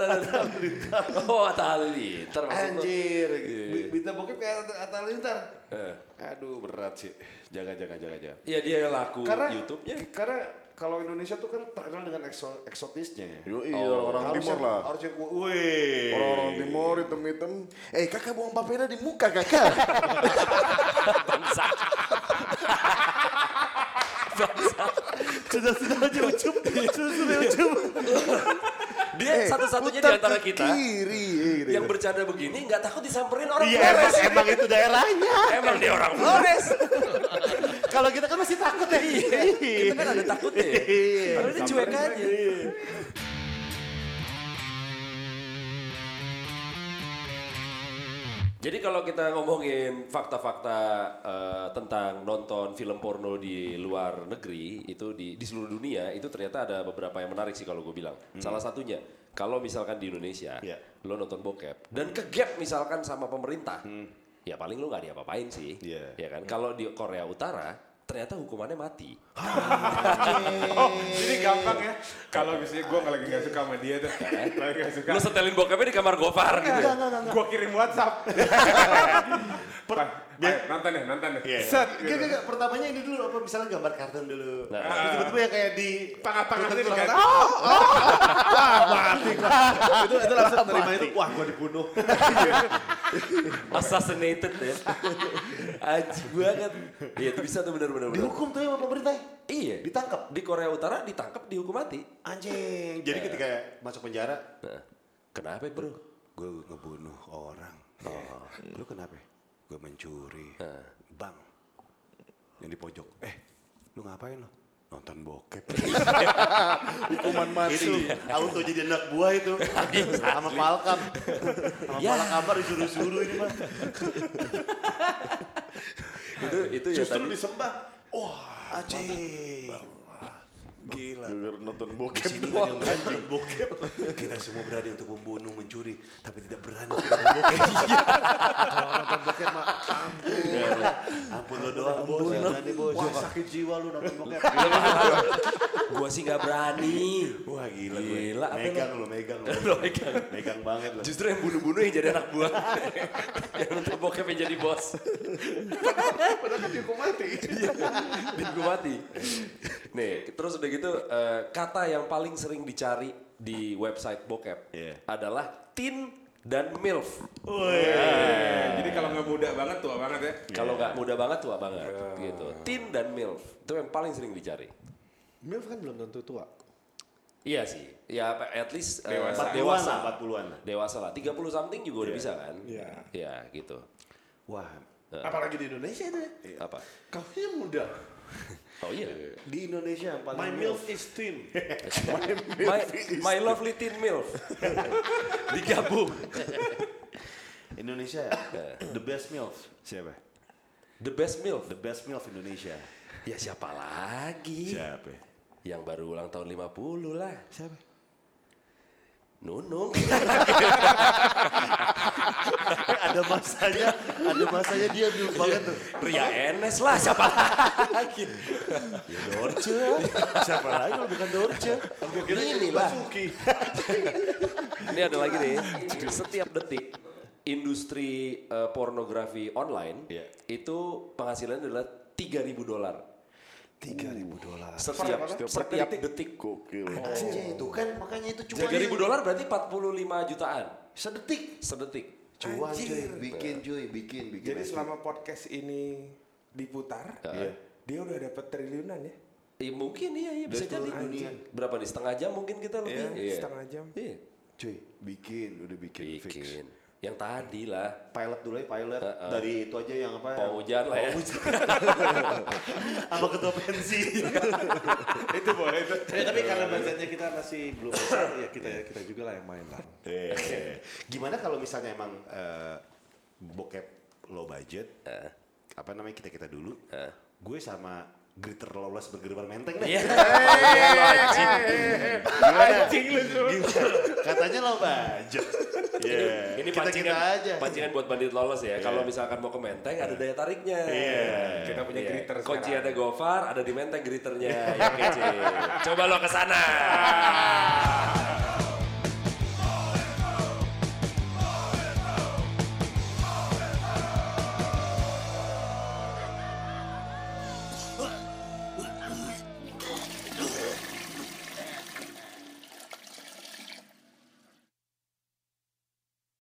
S2: Oh, Atta Halilintar maksud lu.
S3: Anjir, bi- bintang bokep kayak Atta- Atta Lintar.
S2: Eh,
S3: Aduh berat sih. Jaga jaga jaga jaga.
S2: Iya dia yang laku
S3: Karena
S2: YouTube-nya.
S3: Karena kalau Indonesia tuh kan terkenal dengan ekso- eksotisnya. ya.
S4: Yoi, orang-orang
S3: Harus
S4: timur
S3: yang-
S4: lah.
S3: Harus yang wih.
S4: Orang-orang timur, hitam-hitam. Eh kakak buang papeda di muka
S2: *laughs*
S4: kakak.
S2: Bangsa. Bangsa.
S3: Sudah sudah aja ucup. Sudah sudah ucup.
S2: Dia
S4: Eh,
S2: satu-satunya di
S4: putar
S2: antara
S4: ke
S2: kita
S4: Kiri. eh, gitu.
S2: yang bercanda begini nggak takut disamperin orang
S3: ya. Iya
S2: Flores.
S3: emang, emang itu daerahnya. Iya.
S2: Emang dia orang Flores.
S3: *laughs* Kalau kita kan masih takut ya. Iya.
S2: Kita kan ada takutnya. ya. Padahal dia cuek aja. Jadi kalau kita ngomongin fakta-fakta eh, tentang nonton film porno di luar negeri itu di di seluruh dunia itu ternyata ada beberapa yang menarik sih kalau gue bilang. Salah satunya kalau misalkan di Indonesia
S3: Hmm. Iya.
S2: lo nonton bokep dan kegap misalkan sama pemerintah, ya paling lo nggak diapa-apain sih,
S3: Hmm. Iya.
S2: ya kan? Kalau di Korea Utara ternyata hukumannya mati.
S1: Oh, jadi gampang ya. Kalau misalnya gue lagi gak suka sama dia tuh. lagi gak suka.
S2: Lo setelin bokepnya di kamar Gofar gitu.
S1: Gue kirim
S8: *laughs*
S1: WhatsApp. Pak, ayo, nonton ya, nonton
S3: Iya,
S1: ya. Set.
S3: Gak, gak, gak. Pertamanya ini dulu apa misalnya gambar kartun dulu.
S2: Nah.
S3: Terus tiba-tiba yang kayak di
S1: Tangan-tangan
S3: tutup
S1: ini
S3: tulang.
S1: kan.
S3: Ah,
S8: Itu itu langsung terima itu. Wah, gua dibunuh.
S2: Assassinated ya. *laughs* Aji banget. Iya itu bisa tuh benar-benar. benar.
S3: Dihukum tuh sama pemerintah. Ditangkap
S2: Iya. ditangkap di Korea Utara ditangkap dihukum mati. Nah,
S3: Anjing. Jadi ketika masuk penjara,
S2: Kenapa bro?
S3: gue ngebunuh orang. Lu kenapa? Gue mencuri. Bang. Yang di pojok. Eh, lu ngapain lo? Nonton *laughs* bokep.
S4: Hukuman mati.
S3: itu auto jadi anak buah itu. Sama Palkam. Sama
S2: Ya.
S3: Palkam kabar disuruh-suruh *laughs* ini, Pak.
S2: Itu itu ya
S3: Justru
S2: tadi.
S3: disembah. Wah, anjing. Gila.
S4: Gara-gara nonton bokep
S3: Sini
S4: doang.
S3: ada yang berani bokep. Kita semua berani untuk membunuh, mencuri, tapi tidak berani untuk *laughs* bokep.
S8: Kalau nonton bokep mah ampun.
S3: Ampun lo doang, bos. Yang berani, bos.
S8: Wah sakit jiwa lu nonton bokep.
S2: Gua sih nggak berani.
S3: Wah, gila. gue.
S2: Gila, apa
S3: Megang lo, megang
S2: *laughs*
S3: lo.
S2: Lo megang.
S3: Megang banget lo.
S2: Justru yang bunuh-bunuh yang jadi anak buah. *laughs* yang nonton bokep yang jadi bos.
S4: Padahal kan dihukum mati.
S2: Dan gue mati. Nih, terus udah gitu eh, kata yang paling sering dicari di website bokep
S4: Iya.
S2: adalah tin dan milf.
S1: Jadi
S8: Oh.
S1: kalau nggak muda banget tua banget ya.
S4: Iya.
S2: Kalau nggak muda banget tua banget gitu. Tin dan milf itu yang paling sering dicari.
S8: Milf kan belum tentu tua.
S2: Iya sih. Ya apa- at least eh,
S1: Dewasa.
S3: 40-an lah, 40-an lah.
S2: Dewasa lah. 30 something juga udah bisa kan?
S8: Iya.
S2: Iya, gitu. Iya.
S8: Wah. Apalagi di Indonesia itu ya.
S2: Apa?
S8: Kau yang muda.
S2: *laughs* Oh iya.
S3: Di Indonesia yang paling
S8: My milf is thin.
S2: My,
S8: *laughs* Iya.
S2: my lovely teen milf. *laughs* Digabung.
S3: Indonesia the best milf siapa?
S2: The best milf.
S3: The best milf Indonesia.
S2: Ya siapa lagi?
S8: Iya.
S3: Siapa?
S2: Yang baru ulang tahun 50 lah.
S3: Siapa?
S2: Nunung. *laughs*
S3: ada masanya, ada masanya dia milf banget tuh.
S2: Ria Enes lah siapa lagi?
S3: Ya Dorce. Siapa lagi kalau bukan Dorce? Gue kira
S2: Ini
S3: ini
S2: lah.
S3: Basuki.
S2: Ini ada lagi nih. Setiap detik industri eh, pornografi online
S3: Iya.
S2: itu penghasilannya adalah 3000 dolar.
S3: 3000 dolar.
S2: Setiap
S4: Setiap
S2: setiap detik.
S4: Gokil.
S3: Anjing itu kan makanya itu cuma
S2: 3000 dolar berarti 45 jutaan
S3: sedetik.
S2: sedetik.
S4: Cuan cuy,
S1: Anjir.
S4: bikin cuy, bikin, bikin.
S1: Jadi
S4: aja.
S1: selama podcast ini diputar,
S8: Iya.
S1: dia udah dapat triliunan ya.
S2: Eh, mungkin iya iya bisa jadi. Berapa nih setengah jam mungkin kita lebih. Iya.
S1: Setengah jam.
S2: Iya.
S4: cuy, bikin, udah bikin, fix.
S2: Bikin. Yang tadi lah.
S3: Pilot dulu ya, pilot. Dari itu aja yang apa?
S2: Pak Ujan lah ya.
S3: Apa ketua pensi?
S1: itu boleh itu.
S8: Ya, tapi karena budgetnya kita masih belum besar, ya kita kita juga lah yang main lah.
S2: Iya.
S3: Gimana kalau misalnya emang eh, bokep low budget,
S2: Eh.
S3: apa namanya kita kita dulu, gue sama glitter lawless bergerbang menteng deh.
S2: Iya.
S3: Gimana? Gimana? Katanya low budget. Iya.
S2: Ini
S3: kita
S2: pancingan
S3: kita aja.
S2: Pancingan buat bandit lolos ya. Kalau misalkan mau ke Menteng ada daya tariknya.
S3: Iya.
S1: Kita punya
S2: Iya.
S1: gritter
S2: Kunci
S1: sekarang.
S3: *laughs*
S2: ada Iya, Gofar, ada di Menteng griternya yang kece. Coba lo ke sana.